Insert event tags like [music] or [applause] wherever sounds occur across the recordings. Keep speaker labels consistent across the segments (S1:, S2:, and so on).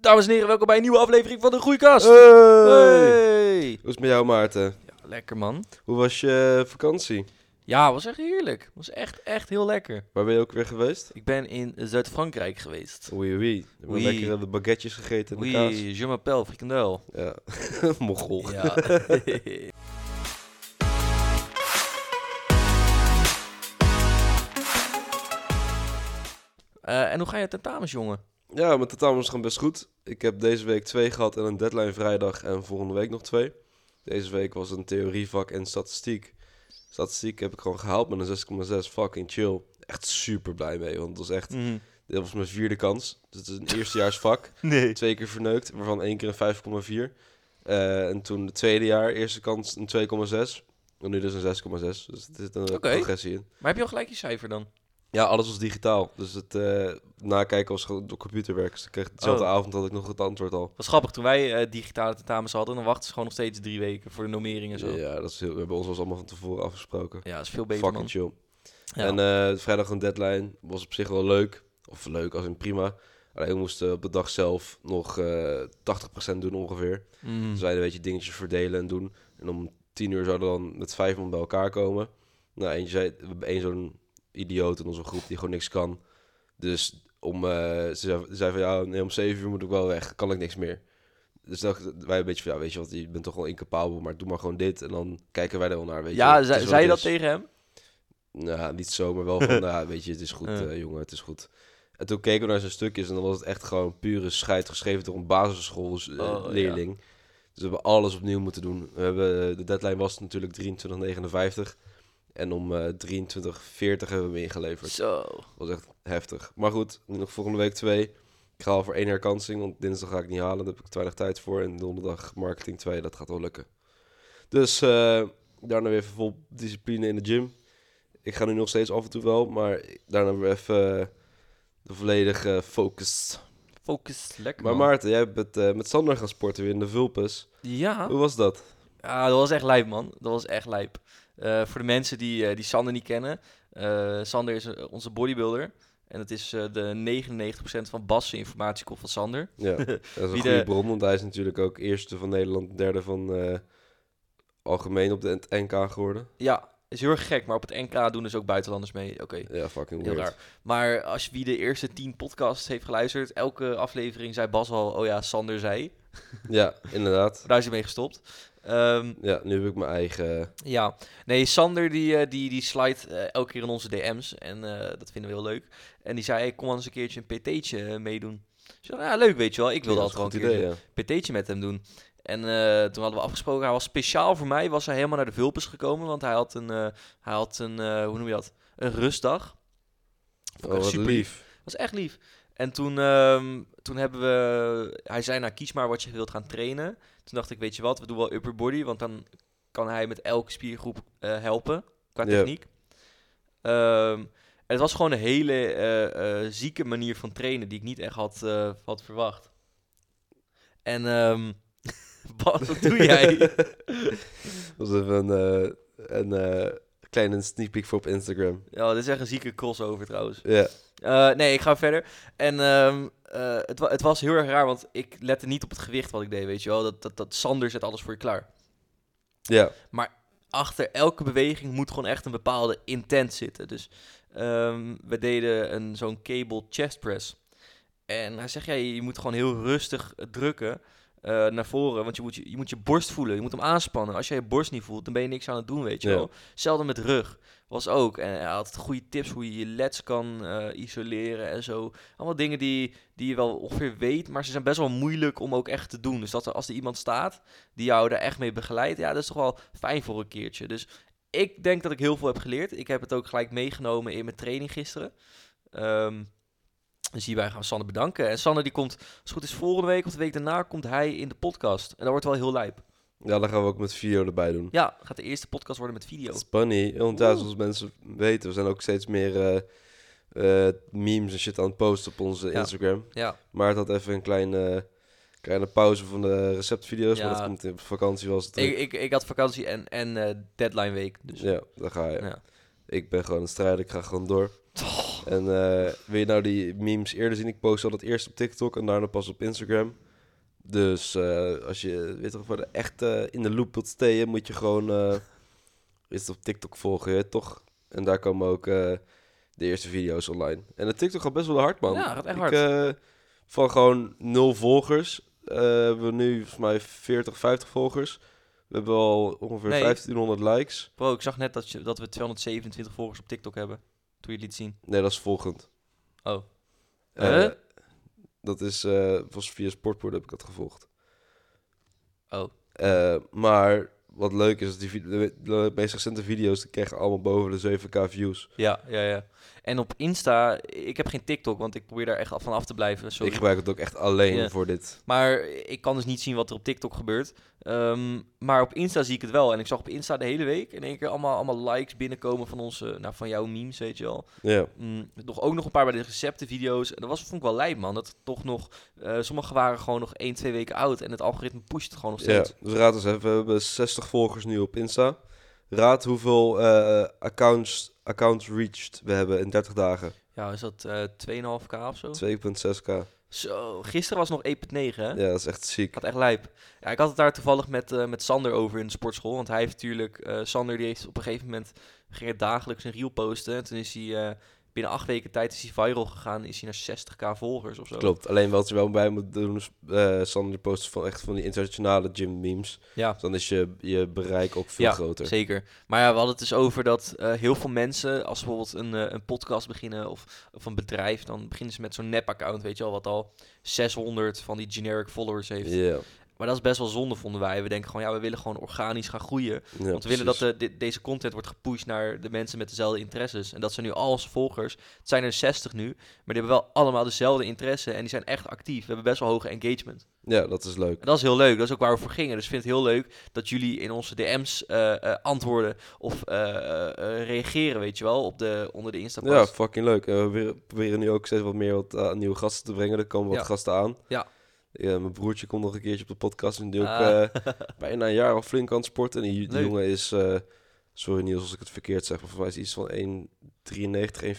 S1: Dames en heren, welkom bij een nieuwe aflevering van de Groeikast.
S2: Hey.
S1: Hey.
S2: Hoe is het met jou, Maarten?
S1: Ja, lekker man.
S2: Hoe was je eh, vakantie?
S1: Ja, was echt heerlijk. Was echt, echt heel lekker.
S2: Waar ben je ook weer geweest?
S1: Ik ben in Zuid-Frankrijk geweest.
S2: Oei, oei. We hebben
S1: Oei.
S2: lekker eh, de baguetjes gegeten en de kaas.
S1: Oui, je m'appelle Frikandel.
S2: Ja, [laughs] mogol.
S1: Ja. [laughs] Eh, en hoe ga je tentamens, jongen?
S2: Ja, mijn tentamens gaan best goed. Ik heb deze week twee gehad en een deadline vrijdag en volgende week nog twee. Deze week was een theorievak en statistiek. Statistiek heb ik gewoon gehaald met een 6,6. Fucking chill. Echt super blij mee, want het was echt... Dit was mijn vierde kans. Dus het is [laughs] een eerstejaarsvak.
S1: Nee.
S2: twee keer verneukt, waarvan één keer een 5,4. Eh, en toen het tweede jaar, eerste kans een 2,6. En nu dus een 6,6. Dus er zit een
S1: Oké.
S2: progressie in.
S1: Maar heb je al gelijk je cijfer dan?
S2: Ja, alles was digitaal. Dus het eh, nakijken was gewoon door computerwerk. Dus ik kreeg dezelfde
S1: Oh.
S2: avond had ik nog het antwoord al.
S1: Was grappig, toen wij eh, digitale tentamens hadden, dan wachten ze gewoon nog steeds drie weken voor de normering en zo. Ja,
S2: Ja, dat is heel, bij ons was allemaal van tevoren afgesproken.
S1: dat is veel beter,
S2: Fucking
S1: man.
S2: chill.
S1: Ja.
S2: En eh, vrijdag een deadline was op zich wel leuk. Of leuk, als in prima. Alleen we moesten op de dag zelf nog eh 80% doen ongeveer.
S1: Mm.
S2: Dus wij een beetje dingetjes verdelen en doen. En om tien uur zouden we dan met vijf man bij elkaar komen. Nou, eentje zei, we hebben één zo'n idioot in onze groep die gewoon niks kan. Dus om, eh, ze zei, ze zei van, ja, nee, om zeven uur moet ik wel weg, kan ik niks meer. Dus dacht, wij een beetje van, ja, weet je wat, je bent toch wel incapabel, maar doe maar gewoon dit. En dan kijken wij er wel dus- naar, weet je.
S1: ja,
S2: Het is
S1: zei,
S2: wat
S1: zei je
S2: het
S1: dat
S2: is.
S1: tegen hem?
S2: Nou, niet zo, maar
S1: [laughs]
S2: wel van, nou, weet je, het is goed,
S1: Ja.
S2: eh, jongen, het is goed. En toen keken we naar zijn stukjes en dan was het echt gewoon pure scheid geschreven door een basisschoolleerling.
S1: Oh,
S2: leerling. Dus we hebben alles opnieuw moeten doen. We hebben, eh, de deadline was natuurlijk 23.59 en om eh 23.40 hebben we hem ingeleverd.
S1: Zo.
S2: Dat was echt heftig. Maar goed, nu nog volgende week twee. Ik ga al voor één herkansing, want dinsdag ga ik niet halen. Daar heb ik te weinig tijd voor. En donderdag marketing 2, dat gaat wel lukken. Dus eh, daarna weer even vol discipline in de gym. Ik ga nu nog steeds af en toe wel, maar daarna weer even eh, de volledige focus.
S1: Focus, lekker
S2: Maar
S1: man.
S2: Maarten, jij bent eh, met Sander gaan sporten weer in de Vulpes.
S1: Ja.
S2: Hoe was dat?
S1: ja, dat was echt lijp man. Dat was echt lijp. Eh, voor de mensen die, eh, die Sander niet kennen. eh, Sander is eh, onze bodybuilder. En dat is eh, de 99% van Bas' informatiekool van Sander. [laughs]
S2: Ja, dat is een
S1: Wie
S2: goede
S1: de-
S2: bron, want hij is natuurlijk ook eerste van Nederland, derde van eh, algemeen op de NK geworden.
S1: Ja, is heel erg gek. Maar op het NK doen dus ook buitenlanders mee. Oké.
S2: Ja, fucking
S1: Heel
S2: weird.
S1: raar. Maar als je wie de eerste tien podcasts heeft geluisterd, elke aflevering zei Bas al, oh ja, Sander zei.
S2: Ja, inderdaad.
S1: Daar is hij mee gestopt. Ehm,
S2: Ja, nu heb ik mijn eigen.
S1: ja, nee, Sander die, eh, die, die slijt eh, elke keer in onze DM's en eh, dat vinden we heel leuk. En die zei, hey, kom eens een keertje een PT'tje eh, meedoen. Dus ik dacht, ja, leuk weet je wel, ik wilde
S2: dat
S1: altijd gewoon een eh,
S2: idee.
S1: keertje
S2: ja.
S1: een PT'tje met hem doen. En eh, toen hadden we afgesproken, hij was speciaal voor mij, was hij helemaal naar de Vulpes gekomen, want hij had een, eh, hij had een eh, hoe noem je dat, een rustdag. Vond ik
S2: Oh,
S1: echt
S2: wat lief.
S1: was echt lief. En toen, ehm, toen hebben we... Hij zei, nou, kies maar wat je wilt gaan trainen. Toen dacht ik, weet je wat, we doen wel upper body. Want dan kan hij met elke spiergroep eh, helpen qua
S2: Ja.
S1: techniek. Ehm, en het was gewoon een hele eh, eh, zieke manier van trainen... die ik niet echt had, eh, had verwacht. En... ehm [laughs] Bas, wat doe jij?
S2: [laughs] Dat was even een, eh, een eh, kleine sneak peek voor op Instagram.
S1: ja, dit is echt een zieke crossover trouwens.
S2: Ja,
S1: Eh, nee, ik ga verder. En ehm, eh, het, wa- het was heel erg raar, want ik lette niet op het gewicht wat ik deed, weet je wel. Dat, dat, dat Sander zet alles voor je klaar.
S2: ja.
S1: Achter elke beweging moet gewoon echt een bepaalde intent zitten. Dus ehm, we deden een, zo'n cable chest press. En hij zegt, ja, je moet gewoon heel rustig eh, drukken eh, naar voren. Want je moet je, je moet je borst voelen, je moet hem aanspannen. Als jij je borst niet voelt, dan ben je niks aan het doen, weet je
S2: Ja.
S1: wel. Hetzelfde met rug was ook. En hij had goede tips hoe je je leds kan eh, isoleren en zo. Allemaal dingen die, die je wel ongeveer weet, maar ze zijn best wel moeilijk om ook echt te doen. Dus dat er, als er iemand staat die jou daar echt mee begeleidt, ja, dat is toch wel fijn voor een keertje. Dus ik denk dat ik heel veel heb geleerd. Ik heb het ook gelijk meegenomen in mijn training gisteren. Ehm, dus hierbij gaan we Sanne bedanken. En Sanne die komt, als het goed is, volgende week of de week daarna komt hij in de podcast. En dat wordt wel heel lijp.
S2: ja, dan gaan we ook met video erbij doen.
S1: Ja, gaat de eerste podcast worden met video.
S2: Spannend. Want ja,
S1: Oeh.
S2: zoals mensen weten, we zijn ook steeds meer eh, eh, memes en shit aan het posten op onze
S1: Ja.
S2: Instagram.
S1: Ja,
S2: Maar het had even een kleine, kleine pauze van de receptvideo's.
S1: Ja.
S2: Maar dat komt in op vakantie was het.
S1: ik, ik, ik had vakantie en, en eh, deadline week. Dus,
S2: Ja, daar ga je.
S1: ja.
S2: Ik ben gewoon een strijder, ik ga gewoon door. En eh, wil je nou die memes eerder zien? Ik post altijd eerst op TikTok en daarna pas op Instagram. Dus eh, als je weet toch, voor de echte in de loop wilt steken, moet je gewoon eh eerst op TikTok volgen, je weet toch? En daar komen ook eh, de eerste video's online. En de TikTok gaat best wel hard, man.
S1: Ja, gaat echt
S2: Ik,
S1: hard.
S2: eh, van gewoon nul volgers eh, hebben we nu volgens mij 40, 50 volgers. We hebben al ongeveer
S1: Nee.
S2: 1500 likes.
S1: Bro, ik zag net dat, je, dat we 227 volgers op TikTok hebben. Toen je het liet zien.
S2: Nee, dat is volgend.
S1: Oh.
S2: Eh,
S1: Huh?
S2: dat is, eh, was via Sportpoort heb ik dat gevolgd.
S1: Oh.
S2: Eh, maar wat leuk is, dat die vid- de, de meest recente video's die krijgen allemaal boven de 7k views.
S1: Ja, ja, ja. En op Insta, ik heb geen TikTok, want ik probeer daar echt af- van af te blijven. Sorry.
S2: Ik gebruik het ook echt alleen
S1: Ja.
S2: voor dit.
S1: Maar ik kan dus niet zien wat er op TikTok gebeurt. Ehm, maar op Insta zie ik het wel. En ik zag op Insta de hele week in één keer allemaal, allemaal likes binnenkomen van onze, nou, van jouw memes, weet je wel.
S2: Ja,
S1: Mm, nog, ook nog een paar bij de receptenvideo's. En dat was, vond ik wel lijp, man. Dat toch nog, eh, sommige waren gewoon nog 1, 2 weken oud. En het algoritme pusht het gewoon nog
S2: ja.
S1: steeds.
S2: Dus raad eens even, we hebben 60 volgers nu op Insta. Raad hoeveel eh, accounts, accounts reached we hebben in 30 dagen.
S1: Ja, is dat eh 2,5k of zo?
S2: 2.6k.
S1: Zo, gisteren was het nog 1,9 hè?
S2: Ja, dat is echt ziek.
S1: Ik had echt lijp. Ja, ik had het daar toevallig met, eh, met Sander over in de sportschool. Want hij heeft natuurlijk... eh, Sander die heeft op een gegeven moment... ging hij dagelijks een reel posten. En toen is hij... eh, binnen acht weken tijd is hij viral gegaan. Is hij naar 60k volgers of zo.
S2: Klopt, alleen wat je wel bij moet doen is eh Sander posten van echt van die internationale gym memes.
S1: Ja,
S2: Dus Dan is je, je bereik ook veel
S1: Ja,
S2: groter.
S1: zeker. Maar ja, we hadden het dus over dat eh, heel veel mensen... als ze bijvoorbeeld een, eh, een podcast beginnen of, of een bedrijf... dan beginnen ze met zo'n nep-account, weet je wel... wat al 600 van die generic followers heeft.
S2: Ja,
S1: Maar dat is best wel zonde, vonden wij. We denken gewoon, ja, we willen gewoon organisch gaan groeien...
S2: ja,
S1: Want we willen dat de, de- deze content wordt gepusht naar de mensen met dezelfde interesses. En dat zijn nu al onze volgers. Het zijn er 60 nu, maar die hebben wel allemaal dezelfde interesse. En die zijn echt actief. We hebben best wel hoge engagement.
S2: Ja, dat is leuk.
S1: En dat is heel leuk. Dat is ook waar we voor gingen. Dus ik vind het heel leuk dat jullie in onze DM's eh, eh, antwoorden of eh, eh, eh, reageren, weet je wel, op de, onder de Insta.
S2: Ja, fucking leuk. En we proberen- proberen nu ook steeds wat meer wat, eh, nieuwe gasten te brengen. Er komen wat
S1: Ja.
S2: gasten aan.
S1: Ja.
S2: Ja, mijn broertje komt nog een keertje op de podcast. En die ook
S1: Ah.
S2: eh, bijna een jaar al flink aan het sporten. En die, die
S1: Leuk.
S2: jongen is... eh, sorry Niels als ik het verkeerd zeg. Maar voor mij is hij iets van 1,93, 1,94.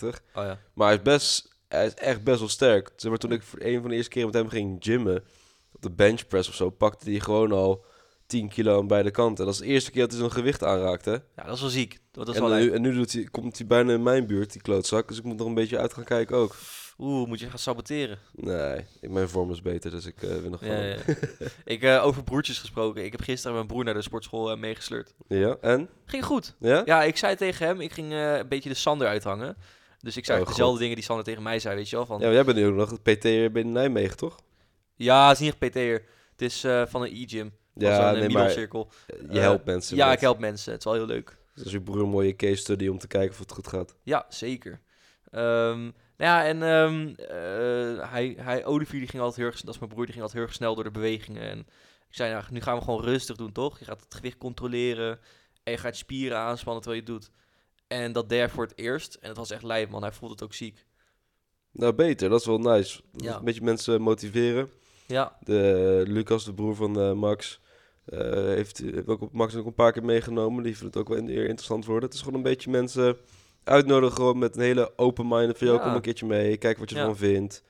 S1: [laughs] Oh ja.
S2: Maar hij is, best, hij is echt best wel sterk. Zeg maar, toen ik voor een van de eerste keren met hem ging gymmen... op de bench press of zo... pakte hij gewoon al 10 kilo aan beide kanten. En dat is de eerste keer dat hij zo'n gewicht aanraakte.
S1: ja, dat is wel ziek. Dat is
S2: En,
S1: wel
S2: dan
S1: leuk.
S2: nu, en nu doet hij, komt hij bijna in mijn buurt, die klootzak. Dus ik moet nog een beetje uit gaan kijken ook.
S1: Oeh, moet je gaan saboteren.
S2: Nee, ik- mijn vorm is beter, dus ik eh win nog
S1: Ja,
S2: gewoon.
S1: ja,
S2: Ja,
S1: ja. ik, eh, over broertjes gesproken. Ik heb gisteren mijn broer naar de sportschool eh, meegesleurd.
S2: en?
S1: Ging goed.
S2: Ja?
S1: [laughs] Ja, ik zei tegen hem, ik ging eh, een beetje de Sander uithangen. Dus ik zei
S2: Oh,
S1: ook dezelfde dingen die Sander tegen mij zei, weet je wel. Van,
S2: Ja,
S1: ja,
S2: maar jij bent nu ook nog het PT'er binnen Nijmegen, toch?
S1: het is niet echt PT'er. Het is eh, van een e-gym. Van
S2: Ja,
S1: zo'n, eh,
S2: nee, maar
S1: middelcirkel.
S2: je helpt mensen.
S1: Eh, Ja,
S2: met-
S1: ik help mensen. Het is wel heel leuk.
S2: Dus als je broer een mooie case study om te kijken of het goed gaat.
S1: Ja, zeker. Ehm, nou ja, en ehm, eh, hij, hij, Olivier, die ging altijd heel erg, dat is mijn broer, die ging altijd heel erg snel door de bewegingen. En ik zei, nou, nu gaan we gewoon rustig doen, toch? Je gaat het gewicht controleren en je gaat je spieren aanspannen terwijl je het doet. En dat deed hij voor het eerst. En het was echt lijp, man. Hij voelde het ook ziek.
S2: Nou, beter. Dat is wel nice. Dat
S1: Ja.
S2: Een beetje mensen motiveren.
S1: Ja,
S2: De, Lucas, de broer van eh, Max, eh, heeft, heeft ook op Max ook een paar keer meegenomen. Die vindt het ook wel weer interessant worden. Het is gewoon een beetje mensen uitnodigen gewoon met een hele open mind. Van, joh,
S1: Ja.
S2: kom een keertje mee, kijk wat je
S1: Ja.
S2: ervan vindt.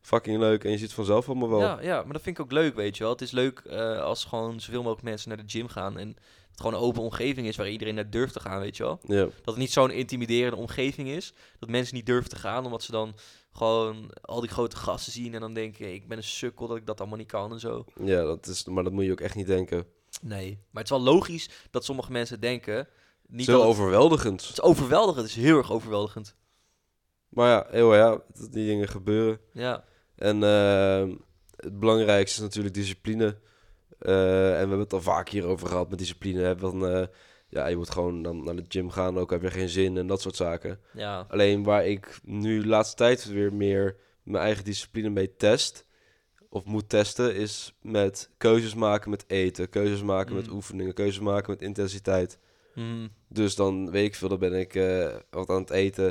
S2: Fucking leuk. En je ziet het vanzelf allemaal wel.
S1: Ja, ja, maar dat vind ik ook leuk, weet je wel. Het is leuk eh, als gewoon zoveel mogelijk mensen naar de gym gaan. En het gewoon een open omgeving is waar iedereen naar durft te gaan, weet je wel.
S2: Ja.
S1: Dat het niet zo'n intimiderende omgeving is. Dat mensen niet durven te gaan, omdat ze dan gewoon al die grote gasten zien. En dan denken, ik ben een sukkel dat ik dat allemaal niet kan en zo.
S2: Ja, dat is, maar dat moet je ook echt niet denken.
S1: Nee. Maar het is wel logisch dat sommige mensen denken... Niet
S2: Zo
S1: dat het,
S2: overweldigend.
S1: het is overweldigend, het is heel erg overweldigend.
S2: Maar ja, heel ja, dat die dingen gebeuren.
S1: Ja,
S2: En eh, het belangrijkste is natuurlijk discipline. Eh, en we hebben het al vaak hier over gehad met discipline. Hè? Van, eh, ja, je moet gewoon dan naar de gym gaan, ook heb je geen zin en dat soort zaken.
S1: ja.
S2: Alleen waar ik nu de laatste tijd weer meer mijn eigen discipline mee test, of moet testen, is met keuzes maken met eten, keuzes maken met
S1: Mm.
S2: oefeningen, keuzes maken met intensiteit.
S1: Mm,
S2: Dus dan weet ik veel, dan ben ik eh, wat aan het eten.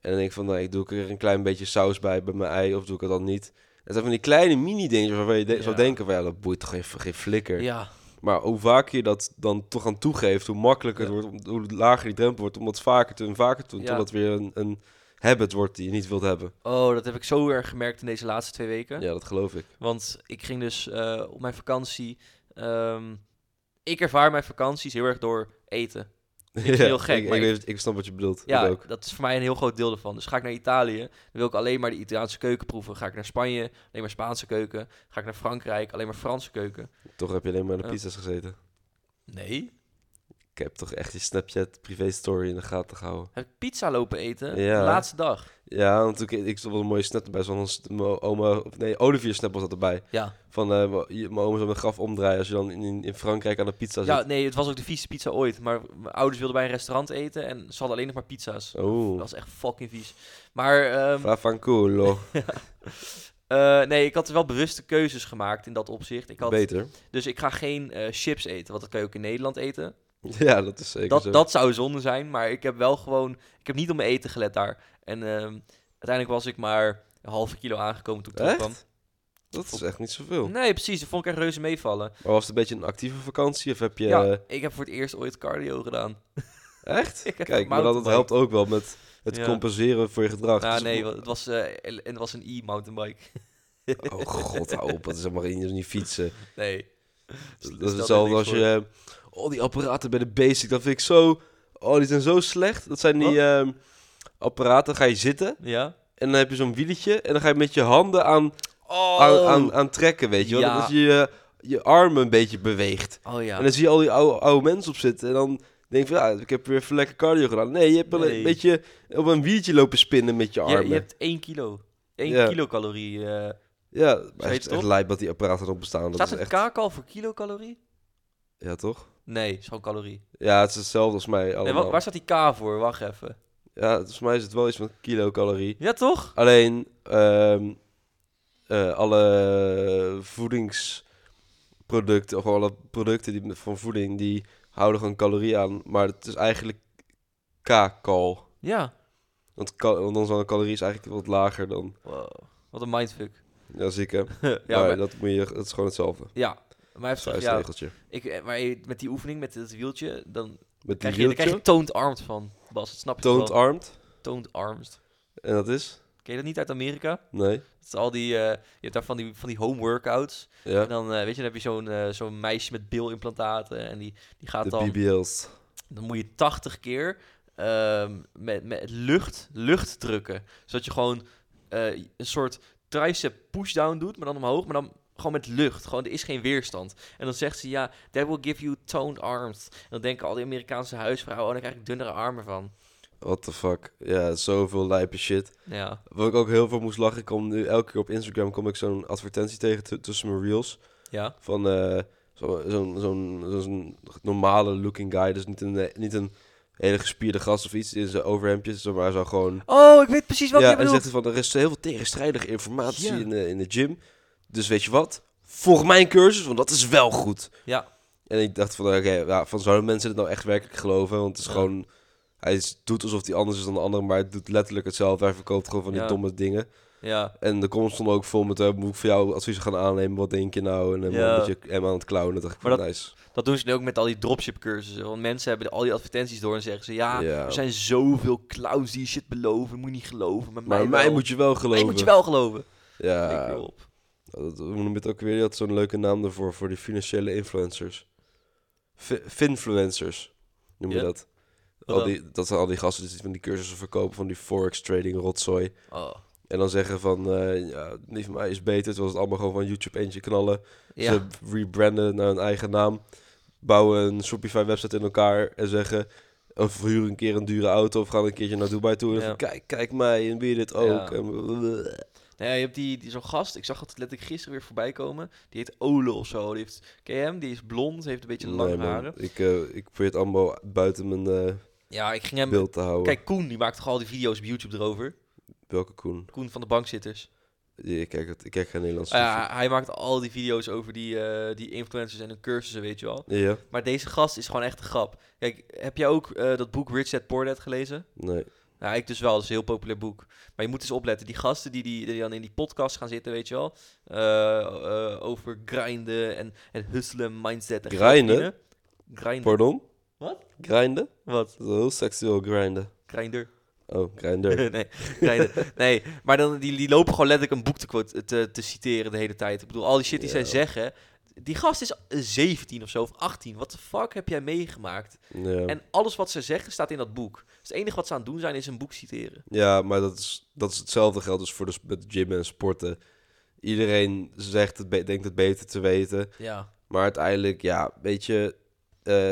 S2: En dan denk ik van, nou, ik doe ik er een klein beetje saus bij, bij mijn ei, of doe ik het dan niet. Het zijn van die kleine mini-dingetjes waarvan je de- zou
S1: Ja.
S2: denken van, ja, dat boeit toch geen, geen flikker.
S1: ja,
S2: Maar hoe vaker je dat dan toch aan toegeeft, hoe makkelijker het wordt, om- hoe lager die drempel wordt, om dat vaker te en vaker te doen,
S1: Ja.
S2: totdat het weer een, een habit wordt die je niet wilt hebben.
S1: Oh, dat heb ik zo erg gemerkt in deze laatste twee weken.
S2: Ja, dat geloof ik.
S1: Want ik ging dus eh, op mijn vakantie. ehm, ik ervaar mijn vakanties heel erg door eten.
S2: Heel [laughs]
S1: heel gek,
S2: Ik,
S1: maar
S2: ik,
S1: ik-
S2: weet- ik snap wat je bedoelt.
S1: Ja,
S2: Ik ook.
S1: dat is voor mij een heel groot deel ervan. Dus ga ik naar Italië, dan wil ik alleen maar de Italiaanse keuken proeven. Ga ik naar Spanje, alleen maar Spaanse keuken. Ga ik naar Frankrijk, alleen maar Franse keuken.
S2: Toch heb je alleen maar aan de
S1: Ja.
S2: pizza's gezeten.
S1: Nee.
S2: Ik heb toch echt je Snapchat privé story in de gaten gehouden.
S1: Heb ik pizza lopen eten?
S2: Ja.
S1: De laatste dag.
S2: Ja, want ik, ik stond wel een mooie snap erbij. Zo'n s- mijn oma, of nee, Olivier snap was dat erbij.
S1: Ja.
S2: Van eh, mijn je- mijn oma zou mijn graf omdraaien als je dan in, in Frankrijk aan de pizza zit.
S1: ja, nee, het was ook de vieste pizza ooit. Maar mijn ouders wilden bij een restaurant eten en ze hadden alleen nog maar pizza's. Dat
S2: Oeh,
S1: was echt fucking vies. Maar ehm,
S2: fra
S1: [laughs]
S2: fanculo.
S1: eh, nee, ik had wel bewuste keuzes gemaakt in dat opzicht. Ik had,
S2: Beter.
S1: Dus ik ga geen eh, chips eten, want dat kan je ook in Nederland eten.
S2: Ja, dat is zeker
S1: dat,
S2: zo.
S1: dat zou zonde zijn, maar ik heb wel gewoon... Ik heb niet op mijn eten gelet daar. En ehm, uiteindelijk was ik maar een halve kilo aangekomen toen ik
S2: Echt? Oh.
S1: terugkwam.
S2: Dat is echt niet zoveel.
S1: Nee, precies. Dat vond ik echt reuze meevallen.
S2: Maar was het een beetje een actieve vakantie? Of heb je... eh,
S1: Ja, ik heb voor het eerst ooit cardio gedaan. [laughs]
S2: Echt?
S1: Ik heb
S2: Kijk, maar dat, dat
S1: mountainbike.
S2: helpt ook wel met het
S1: Ja.
S2: compenseren voor je gedrag.
S1: nou,
S2: Dus-
S1: nee, wa- het was, eh, el- het was een e-mountainbike. [laughs]
S2: Oh god, hou op. Dat is helemaal niet, niet fietsen.
S1: Nee. Dus
S2: Dat,
S1: stelt
S2: is
S1: er
S2: hetzelfde
S1: niks
S2: als je...
S1: voor.
S2: eh, al die apparaten bij de Basic, dat vind ik zo... Oh, die zijn zo slecht. Dat zijn die ehm, apparaten, dan ga je zitten
S1: Ja?
S2: en dan heb je zo'n wieletje en dan ga je met je handen aan,
S1: Oh,
S2: aan, aan, aan trekken, weet je wel.
S1: Ja.
S2: Dat je je eh, je armen een beetje beweegt.
S1: oh ja.
S2: En dan zie je al die oude, oude mensen op zitten. En dan denk je van, ja, ik heb weer even lekker cardio gedaan. Nee, je hebt wel
S1: Nee.
S2: een beetje op een wiertje lopen spinnen met je
S1: Je,
S2: armen.
S1: je hebt 1 kilo. 1
S2: Ja.
S1: kilocalorie. eh.
S2: Ja, maar
S1: je
S2: het is
S1: het
S2: echt
S1: op?
S2: lijp dat die apparaten erop bestaan. Dat
S1: staat
S2: is
S1: een
S2: echt...
S1: kaak al voor kilocalorie?
S2: Ja, toch?
S1: Nee, is gewoon calorie.
S2: Ja, het is hetzelfde als mij
S1: Nee,
S2: allemaal.
S1: wa- waar staat die K voor? Wacht even.
S2: Ja, volgens mij is het wel iets van kilocalorie.
S1: Ja, toch?
S2: Alleen, ehm, eh, alle voedingsproducten, of alle producten die, van voeding, die houden gewoon calorie aan. Maar het is eigenlijk k-kal.
S1: Ja.
S2: Want, kal- want dan zijn de calorie is eigenlijk wat lager dan...
S1: Wow, wat een mindfuck. [laughs]
S2: Ja, zieke.
S1: ja,
S2: Ja,
S1: maar,
S2: dat, moet je, dat is gewoon hetzelfde.
S1: ja, maar, hij heeft gezegd, ja,
S2: Vuistregeltje.
S1: ik, eh, maar je- met die oefening, met het wieltje, dan
S2: Met die
S1: krijg je, dan krijg je
S2: wieltje,
S1: toned armed van, Bas. Dat snap je toch
S2: toont
S1: wel?
S2: armed.
S1: Toned armed.
S2: En dat is?
S1: Ken je dat niet uit Amerika?
S2: Nee.
S1: Dat is al die, eh, je hebt daar van die, van die home workouts.
S2: Ja.
S1: En dan, eh, weet je, dan heb je zo'n eh, zo'n meisje met bilimplantaten en die, die gaat
S2: De
S1: dan,
S2: BBL's.
S1: dan moet je 80 keer ehm, met, met lucht, lucht drukken. Zodat je gewoon eh, een soort tricep pushdown doet, maar dan omhoog, maar dan gewoon met lucht. Gewoon, er is geen weerstand. En dan zegt ze, ja, that will give you toned arms. En dan denken al die Amerikaanse huisvrouwen, oh, dan krijg ik dunnere armen van.
S2: What the fuck. Ja, zoveel lijpe shit.
S1: Ja,
S2: Wat ik ook heel veel moest lachen, ik kom nu elke keer op Instagram kom ik zo'n advertentie tegen tu- tussen mijn reels.
S1: ja.
S2: Van eh, zo- zo'n zo'n zo'n normale looking guy. Dus niet een, eh, niet een hele gespierde gast of iets in zijn overhemdjes. zo, Maar zo gewoon...
S1: Oh, ik weet precies wat
S2: ja,
S1: je
S2: en
S1: bedoelt.
S2: zegt hij van, er is heel veel tegenstrijdige informatie
S1: Ja.
S2: in, de, in de gym. Dus weet je wat? Volg mijn cursus, want dat is wel goed.
S1: Ja.
S2: En ik dacht van, oké, ja, van zouden mensen het nou echt werkelijk geloven? Want het is
S1: Ja.
S2: gewoon... Hij is- doet alsof hij anders is dan de ander, maar hij doet letterlijk hetzelfde. Hij verkoopt gewoon van die
S1: Ja.
S2: domme dingen.
S1: Ja,
S2: En de comments stonden ook vol met, eh, moet ik voor jou adviezen gaan aannemen? Wat denk je nou? En dan
S1: Ja.
S2: moet je hem aan het clownen. Dat dacht ik,
S1: Maar
S2: van, nice.
S1: dat doen ze nu ook met al die dropship cursussen. Want mensen hebben al die advertenties door en zeggen ze, ja,
S2: Ja.
S1: er zijn zoveel clowns die shit beloven, moet je niet geloven. Maar,
S2: Maar mij,
S1: wel.
S2: moet je wel
S1: Mij
S2: geloven.
S1: moet je wel geloven.
S2: Ja,
S1: Ik wil op.
S2: dat, hoe noem je het ook weer? Je had zo'n leuke naam ervoor, voor die financiële influencers. Fi- Finfluencers, noem je
S1: Ja?
S2: dat.
S1: Wat
S2: Al
S1: dan?
S2: die, dat zijn al die gasten die van die cursussen verkopen van die forex trading rotzooi.
S1: Oh.
S2: En dan zeggen van, eh, ja, die van mij is beter, terwijl ze het allemaal gewoon van YouTube eentje knallen.
S1: Ja.
S2: Ze rebranden naar hun eigen naam, bouwen een Shopify website in elkaar en zeggen... Of verhuren een keer een dure auto of gaan een keertje naar Dubai toe. En
S1: Ja.
S2: zeggen, kijk, kijk mij en wil je dit ook?
S1: Ja.
S2: En-
S1: Nou ja, je hebt die, die zo'n gast, ik zag het letterlijk gisteren weer voorbij komen. Die heet Ole of zo. Die heeft, ken je hem? Die is blond, heeft een beetje
S2: Nee,
S1: lange
S2: man.
S1: haren.
S2: Ik, eh, ik probeer het allemaal buiten mijn eh,
S1: Ja, ik ging hem...
S2: beeld te houden.
S1: Kijk, Koen, die maakt toch al die video's op YouTube erover?
S2: Welke Koen?
S1: Koen van de Bankzitters.
S2: Ja, Ik kijk, het, ik kijk geen Nederlands.
S1: Ah, Ja, hij maakt al die video's over die, eh, die influencers en hun cursussen, weet je wel.
S2: ja?
S1: Maar deze gast is gewoon echt een grap. Kijk, heb jij ook eh, dat boek Rich Dad Poor Dad gelezen?
S2: Nee.
S1: Nou, ik dus wel. Dat is een heel populair boek. Maar je moet eens opletten. Die gasten die, die, die dan in die podcast gaan zitten, weet je wel. eh, eh, over grinden en, en hustelen, mindset en geld
S2: Grinden?
S1: verdienen. Grinden.
S2: Pardon?
S1: Wat?
S2: Grinden?
S1: Wat?
S2: Dat is heel seksueel grinden.
S1: Grinder.
S2: Oh,
S1: [laughs]
S2: Rijn Durk.
S1: nee, kleine- nee, maar dan, die, die lopen gewoon letterlijk een boek te, quote- te, te citeren de hele tijd. Ik bedoel, al die shit die zij
S2: Ja.
S1: zeggen. Die gast is 17 of zo, of 18. Wat de fuck heb jij meegemaakt?
S2: ja.
S1: En alles wat ze zeggen staat in dat boek. Dus het enige wat ze aan het doen zijn is een boek citeren.
S2: ja, maar dat is, dat is hetzelfde geldt als voor de, sp- met gym en sporten. Iedereen zegt het, be- denkt het beter te weten.
S1: Ja.
S2: Maar uiteindelijk, ja, weet je, eh,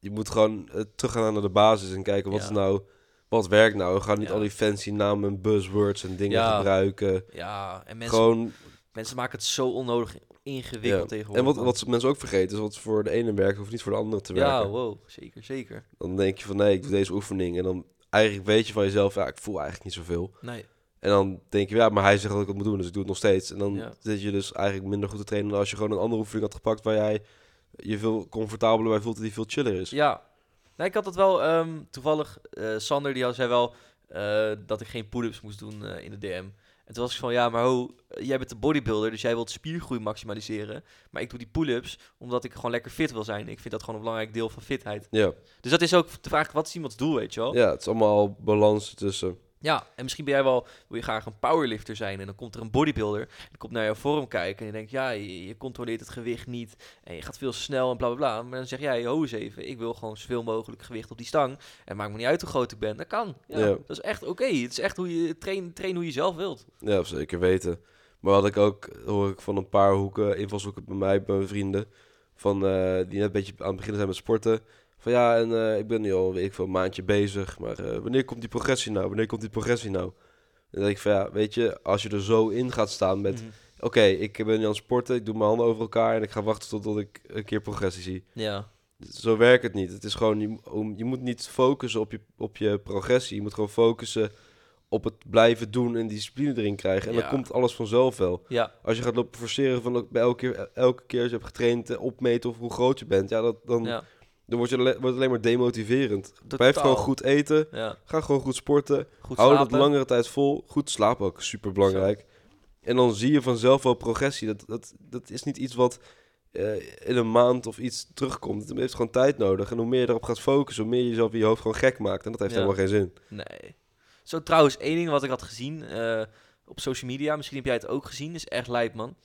S2: je moet gewoon eh, teruggaan naar de basis en kijken wat
S1: Ja.
S2: is nou, wat werkt nou. We gaan niet
S1: Ja.
S2: al die fancy namen en buzzwords en dingen
S1: Ja.
S2: gebruiken.
S1: Ja, en mensen,
S2: gewoon,
S1: mensen maken het zo onnodig ingewikkeld
S2: ja.
S1: tegenwoordig.
S2: En wat,
S1: man.
S2: wat mensen ook vergeten is wat voor de ene werkt, hoeft niet voor de andere te werken.
S1: Ja, wow, zeker, zeker.
S2: Dan denk je van, nee, ik doe deze oefening en dan eigenlijk weet je van jezelf, ja, ik voel eigenlijk niet zoveel.
S1: Nee,
S2: En dan denk je, ja, maar hij zegt dat ik het moet doen, dus ik doe het nog steeds. En dan
S1: Ja.
S2: zit je dus eigenlijk minder goed te trainen dan als je gewoon een andere oefening had gepakt waar jij je veel comfortabeler bij voelt en die veel chiller is.
S1: Ja. Nee, ik had dat wel ehm, toevallig. eh, Sander die had, zei wel eh, dat ik geen pull-ups moest doen eh, in de DM. En toen was ik van, ja, maar ho, eh, jij bent een bodybuilder, dus jij wilt spiergroei maximaliseren. Maar ik doe die pull-ups omdat ik gewoon lekker fit wil zijn. Ik vind dat gewoon een belangrijk deel van fitheid.
S2: Ja.
S1: Dus dat is ook de vraag, wat is iemands doel, weet je wel? Ja,
S2: Ja, het is allemaal balans tussen.
S1: en misschien ben jij wel, wil je graag een powerlifter zijn en dan komt er een bodybuilder. En die komt naar jouw vorm kijken en je denkt, ja, je, je controleert het gewicht niet en je gaat veel snel en bla bla bla. Maar dan zeg jij, ho eens even, ik wil gewoon zoveel mogelijk gewicht op die stang. En het maakt me niet uit hoe groot ik ben, dat kan. Ja,
S2: Ja.
S1: Dat is echt oké, het is echt hoe je, train, train hoe je zelf wilt.
S2: Ja, zeker weten. Maar had ik ook, hoor ik van een paar hoeken, invalshoeken bij mij, bij mijn vrienden, van, eh, die net een beetje aan het beginnen zijn met sporten. Van ja, en eh, ik ben nu al weet ik, veel, een maandje bezig, maar eh, wanneer komt die progressie nou? Wanneer komt die progressie nou? En dan denk ik van ja, weet je, als je er zo in gaat staan met,
S1: Mhm.
S2: oké, ik ben nu aan het sporten, ik doe mijn handen over elkaar en ik ga wachten totdat ik een keer progressie zie.
S1: Ja,
S2: Zo werkt het niet. Het is gewoon, je, mo- om- je moet niet focussen op je, op je progressie. Je moet gewoon focussen op het blijven doen en discipline erin krijgen. En
S1: Ja.
S2: dan komt alles vanzelf wel.
S1: ja,
S2: Als je gaat lopen forceren van ook bij elke keer, el- elke keer als je hebt getraind, eh, opmeten of hoe groot je bent. Ja, dat, dan,
S1: ja,
S2: dan wordt, je, alle- wordt het alleen maar demotiverend.
S1: Totaal.
S2: Blijf gewoon goed eten.
S1: ja.
S2: Ga gewoon goed sporten.
S1: Goed
S2: Hou dat
S1: slapen.
S2: langere tijd vol. Goed slapen ook, super belangrijk. En dan zie je vanzelf wel progressie. Dat, dat, dat is niet iets wat eh, in een maand of iets terugkomt. Het heeft gewoon tijd nodig. En hoe meer je erop gaat focussen, hoe meer je jezelf in je hoofd gewoon gek maakt. En dat heeft
S1: Ja.
S2: helemaal geen zin.
S1: Nee. Zo trouwens, één ding wat ik had gezien eh, op social media, misschien heb jij het ook gezien, is echt lijp man.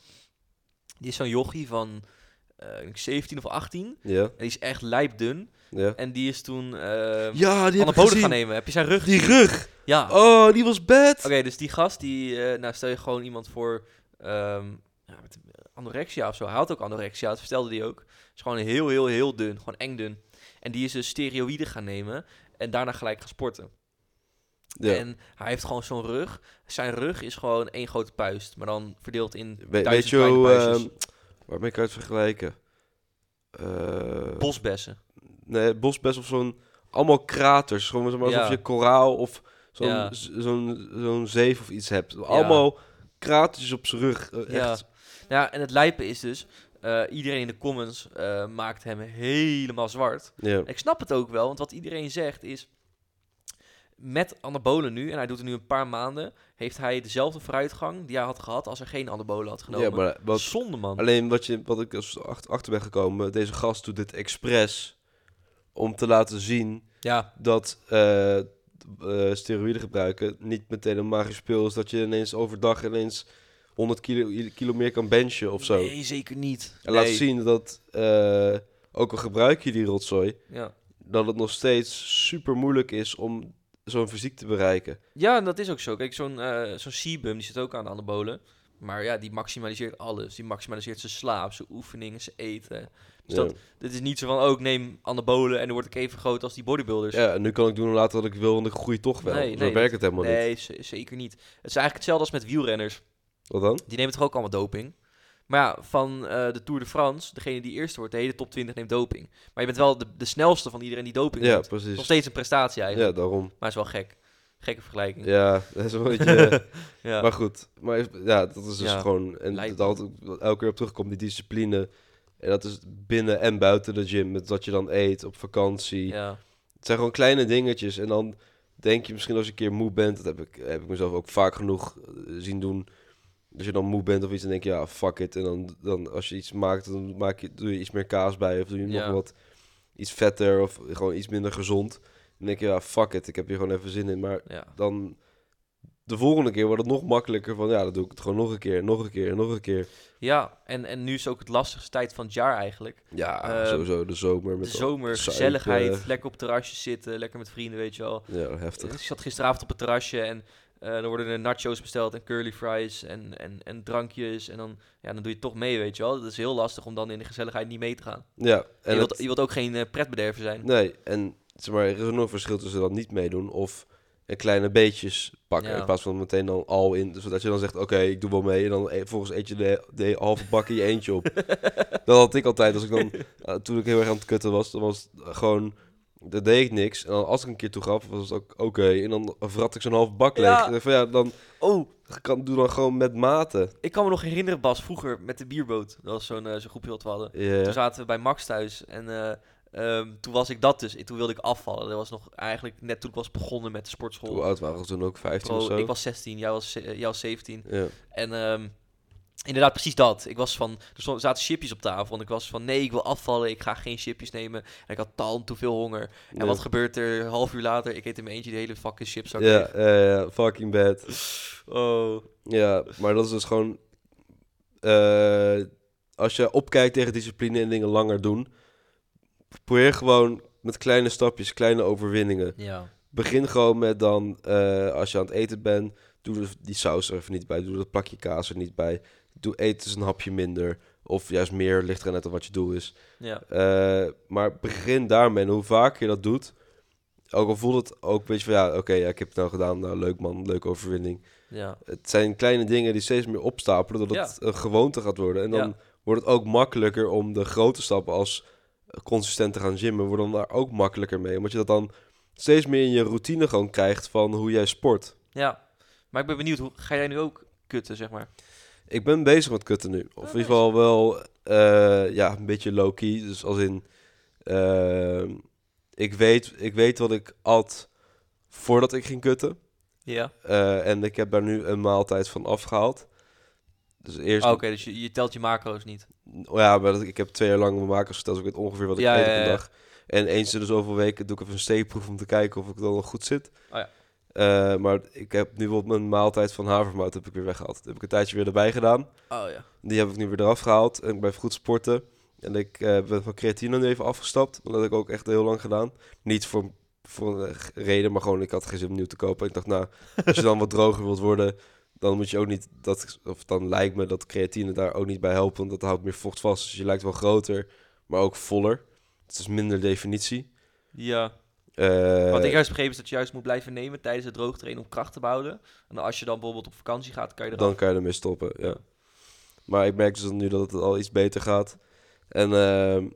S1: Die is zo'n jochie van eh, ik 17 of 18 en
S2: Ja,
S1: die is echt lijpdun.
S2: ja.
S1: En die is toen eh
S2: Ja, die heb ik
S1: anabolen
S2: gezien.
S1: gaan nemen. Heb je zijn rug?
S2: Die rug.
S1: Ja. Oké,
S2: Oh, die was bad.
S1: dus die gast, die, eh, nou stel je gewoon iemand voor ehm, ja, met anorexia of zo. Hij had ook anorexia, dat vertelde die ook. Is gewoon heel, heel, heel dun. Gewoon eng dun. En die is dus steroïden gaan nemen en daarna gelijk gaan sporten.
S2: Ja.
S1: En hij heeft gewoon zo'n rug. Zijn rug is gewoon één grote puist, maar dan verdeeld in
S2: We-
S1: duizend
S2: weet je
S1: kleine
S2: hoe...
S1: puistjes.
S2: ehm, waarmee kan je het vergelijken? Eh,
S1: Bosbessen.
S2: nee, bosbest of zo'n... Allemaal kraters. Gewoon zeg maar, alsof
S1: Ja.
S2: je koraal of zo'n
S1: Ja.
S2: z- zo'n zo'n zeef of iets hebt. Allemaal kratertjes op zijn rug. Eh,
S1: Ja.
S2: Echt.
S1: Nou, ja, en het lijpen is dus, eh, iedereen in de comments eh, maakt hem helemaal zwart.
S2: Ja.
S1: Ik snap het ook wel, want wat iedereen zegt is... Met anabolen nu, en hij doet het nu een paar maanden, heeft hij dezelfde vooruitgang die hij had gehad als er geen anabolen had genomen.
S2: ja, maar wat,
S1: Zonde, man.
S2: alleen wat, je, wat ik als ach- achter ben gekomen... Deze gast doet dit expres om te laten zien
S1: Ja,
S2: dat... eh, eh, steroïden gebruiken niet meteen een magisch spul is dat je ineens overdag ineens 100 kilo, kilo meer kan benchen of zo.
S1: nee, zeker niet.
S2: En laat
S1: Nee.
S2: zien dat, eh, ook al gebruik je die rotzooi,
S1: Ja.
S2: dat het nog steeds super moeilijk is om zo'n fysiek te bereiken.
S1: Ja, en dat is ook zo. Kijk, zo'n eh zo'n sebum, die zit ook aan de anabolen. Maar ja, die maximaliseert alles. Die maximaliseert zijn slaap, zijn oefeningen, zijn eten. Dus
S2: ja.
S1: dat, dit is niet zo van, ook neem anabolen en dan word ik even groot als die bodybuilders.
S2: ja, en nu kan ik doen en laten wat ik wil, want ik groei toch wel.
S1: Nee,
S2: zo
S1: nee,
S2: werkt het helemaal niet.
S1: nee, z- zeker niet. Het is eigenlijk hetzelfde als met wielrenners.
S2: Wat dan?
S1: Die nemen toch ook allemaal doping? Maar ja, van eh, de Tour de France, degene die eerste wordt, de hele top 20 neemt doping. Maar je bent wel de, de snelste van iedereen die doping
S2: Ja,
S1: neemt. Nog
S2: precies.
S1: steeds een prestatie eigenlijk.
S2: Ja, daarom.
S1: Maar is wel gek. Gekke vergelijking.
S2: Ja, [laughs] dat is
S1: [laughs]
S2: een beetje... eh,
S1: Ja.
S2: Maar goed, maar is- ja, dat is dus
S1: Ja.
S2: gewoon... En
S1: Lijkt
S2: dat altijd- wat elke keer op terugkomt, die discipline. En dat is binnen en buiten de gym. Met wat je dan eet, op vakantie.
S1: ja.
S2: Het zijn gewoon kleine dingetjes. En dan denk je misschien als je een keer moe bent. Dat heb ik, heb ik mezelf ook vaak genoeg eh, zien doen. Als je dan moe bent of iets, dan denk je, ja, fuck it. En dan, dan als je iets maakt, dan maak je, doe je iets meer kaas bij. Of doe je
S1: Ja.
S2: nog wat iets vetter of gewoon iets minder gezond. Dan denk je, ja, fuck it, ik heb hier gewoon even zin in. Maar
S1: Ja.
S2: dan de volgende keer wordt het nog makkelijker van, ja, dan doe ik het gewoon nog een keer, nog een keer, nog een keer.
S1: Ja, en, en nu is ook het lastigste tijd van het jaar eigenlijk.
S2: Ja,
S1: Ehm,
S2: sowieso de zomer
S1: De
S2: met al-
S1: zomer,
S2: zuipen.
S1: gezelligheid, lekker op het terrasje zitten, lekker met vrienden, weet je wel.
S2: Ja, heftig.
S1: Ik zat gisteravond op het terrasje en eh er worden er nachos besteld en curly fries en, en, en drankjes. En dan, ja, dan doe je toch mee, weet je wel. Dat is heel lastig om dan in de gezelligheid niet mee te gaan.
S2: Ja,
S1: En
S2: en
S1: je, wilt,
S2: het-
S1: je wilt ook geen eh, pretbederver zijn.
S2: nee, en zeg maar, er is ook nog een verschil tussen dat niet meedoen of een kleine beetjes pakken
S1: Ja.
S2: in plaats van meteen dan al in, zodat je dan zegt, oké, ik doe wel mee en dan e- volgens eet je de, de halve bak in je
S1: [laughs]
S2: eentje op. dat had ik altijd, als ik dan, eh, toen ik heel erg aan het kutten was, dan was het gewoon, dat deed ik niks. En dan als ik een keer toe gaf, was het ook oké, en dan vrat ik zo'n halve bak leeg.
S1: Ja.
S2: En dan van, ja, dan
S1: Oh,
S2: kan, doe dan gewoon met mate.
S1: ik kan me nog herinneren, Bas, vroeger met de bierboot. Dat was zo'n eh, zo'n groepje wat we hadden.
S2: Ja.
S1: Toen zaten we bij Max thuis en eh, ehm, toen was ik dat dus. En toen wilde ik afvallen. Dat was nog eigenlijk net toen ik was begonnen met de sportschool.
S2: Hoe oud waren we toen ook? 15 of
S1: Bro,
S2: zo?
S1: Oh, ik was 16, jij was, ze- eh, jij was 17.
S2: Ja.
S1: En ehm, inderdaad, precies dat. Ik was van, er stond- zaten chipjes op tafel. En ik was van, nee, ik wil afvallen. Ik ga geen chipjes nemen. En ik had tal te veel honger. En
S2: Ja.
S1: wat gebeurt er? Een half uur later, ik eet in mijn eentje die hele fucking chipzak
S2: Ja,
S1: leeg.
S2: ja, ja, fucking bad.
S1: Oh.
S2: Ja, maar dat is dus gewoon... eh, als je opkijkt tegen discipline en dingen langer doen... Probeer gewoon met kleine stapjes, kleine overwinningen.
S1: Ja.
S2: Begin gewoon met dan, eh, als je aan het eten bent... Doe er die saus er even niet bij. Doe dat plakje kaas er niet bij. Doe eten dus een hapje minder. Of juist meer, ligt er net aan wat je doel is.
S1: Ja.
S2: Eh, maar begin daarmee. En hoe vaker je dat doet, ook al voelt het ook een beetje van ja, oké, ja, ik heb het nou gedaan. Nou, leuk man, leuke overwinning.
S1: Ja.
S2: Het zijn kleine dingen die steeds meer opstapelen, dat het een gewoonte gaat worden. En dan
S1: Ja.
S2: wordt het ook makkelijker om de grote stappen als consistent te gaan gymmen, wordt dan daar ook makkelijker mee. Omdat je dat dan steeds meer in je routine gewoon krijgt van hoe jij sport.
S1: Ja. Maar ik ben benieuwd, hoe, ga jij nu ook kutten, zeg maar?
S2: Ik ben bezig met kutten nu. Of
S1: Oh,
S2: in ieder geval wel eh, ja, een beetje low-key. Dus als in... eh, ik, weet, ik weet wat ik at voordat ik ging kutten.
S1: Ja.
S2: Eh, en ik heb daar nu een maaltijd van afgehaald. Dus eerst...
S1: Oké, dus je, je telt je macro's niet.
S2: Oh Ja, maar dat- ik heb twee jaar lang mijn makers geteld. Dus ik weet ongeveer wat ik
S1: Ja,
S2: eet
S1: ja,
S2: op
S1: ja.
S2: een dag. En eens in de zoveel weken doe ik even een steekproef om te kijken of ik dan nog goed zit.
S1: Oh ja.
S2: Eh, maar ik heb nu bijvoorbeeld mijn maaltijd van havermout heb ik weer weggehaald. Dat heb ik een tijdje weer erbij gedaan.
S1: Oh ja.
S2: Die heb ik nu weer eraf gehaald. En ik ben even goed sporten. En ik eh, ben van creatine nu even afgestapt. Dat heb ik ook echt heel lang gedaan. Niet voor, voor een reden, maar gewoon ik had geen zin om nieuw te kopen. Ik dacht, nou, als je dan wat droger wilt worden, dan moet je ook niet... Dat, of dan lijkt me dat creatine daar ook niet bij helpt. Want dat houdt meer vocht vast. Dus je lijkt wel groter, maar ook voller. Het is minder definitie.
S1: Ja.
S2: Eh,
S1: Wat ik juist begreep is dat je juist moet blijven nemen tijdens het droogtrainen om kracht te behouden. En als je dan bijvoorbeeld op vakantie gaat, kan je er
S2: Dan kan je ermee stoppen, ja. Maar ik merk dus nu dat het al iets beter gaat. En ehm,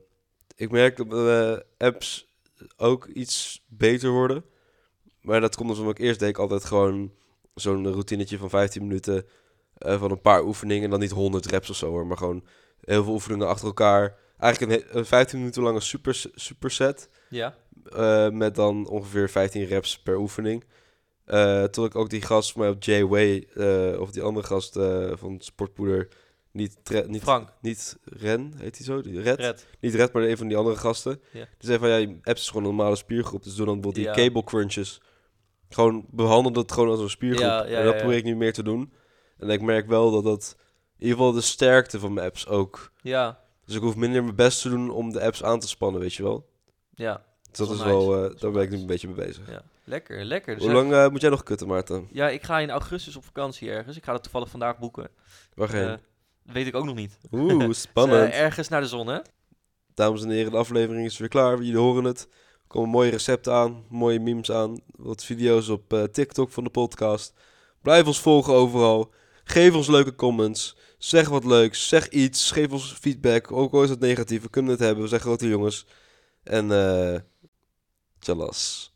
S2: ik merk dat mijn eh, apps ook iets beter worden. Maar dat komt dus omdat ik eerst deed ik altijd gewoon zo'n routinetje van 15 minuten eh, van een paar oefeningen. En dan niet 100 reps of zo hoor, maar gewoon heel veel oefeningen achter elkaar. Eigenlijk een, he- een 15 minuten lange super, superset.
S1: Ja.
S2: Eh, met dan ongeveer 15 reps per oefening. Eh tot ik ook die gast van mij op Jay Way, eh, of die andere gast eh, van Sportpoeder, niet, tre- niet,
S1: Frank,
S2: niet Ren, heet hij zo? Die Red?
S1: Red.
S2: Niet Red, maar een van die andere gasten.
S1: Ja.
S2: Die zei van, ja, je apps is gewoon een normale spiergroep. Dus doe dan bijvoorbeeld die
S1: Ja.
S2: cable crunches. Gewoon behandel dat gewoon als een spiergroep.
S1: Ja, ja,
S2: en dat
S1: ja, ja.
S2: probeer ik nu meer te doen. En ik merk wel dat dat, in ieder geval de sterkte van mijn apps ook.
S1: Ja.
S2: Dus ik hoef minder mijn best te doen om de apps aan te spannen, weet je wel.
S1: Ja.
S2: Dus
S1: Wel
S2: dat is
S1: nice.
S2: wel, eh,
S1: is wel
S2: daar ben ik nu
S1: nice.
S2: een beetje mee bezig.
S1: Ja. Lekker, lekker. Dus
S2: Hoe
S1: ja,
S2: lang eh, moet jij nog kutten, Maarten?
S1: Ja, ik ga in augustus op vakantie ergens. Ik ga dat toevallig vandaag boeken.
S2: Waar ga je
S1: Eh,
S2: heen?
S1: dat weet ik ook nog niet. [laughs]
S2: Oeh, spannend.
S1: Dus, eh, ergens naar de zon, hè?
S2: Dames en heren, de aflevering is weer klaar. Jullie horen het. Er komen mooie recepten aan, mooie memes aan. Wat video's op eh, TikTok van de podcast. Blijf ons volgen overal. Geef ons leuke comments. Zeg wat leuks. Zeg iets. Geef ons feedback. Ook al is het negatief. We kunnen het hebben. We zijn grote jongens. En eh tjallas.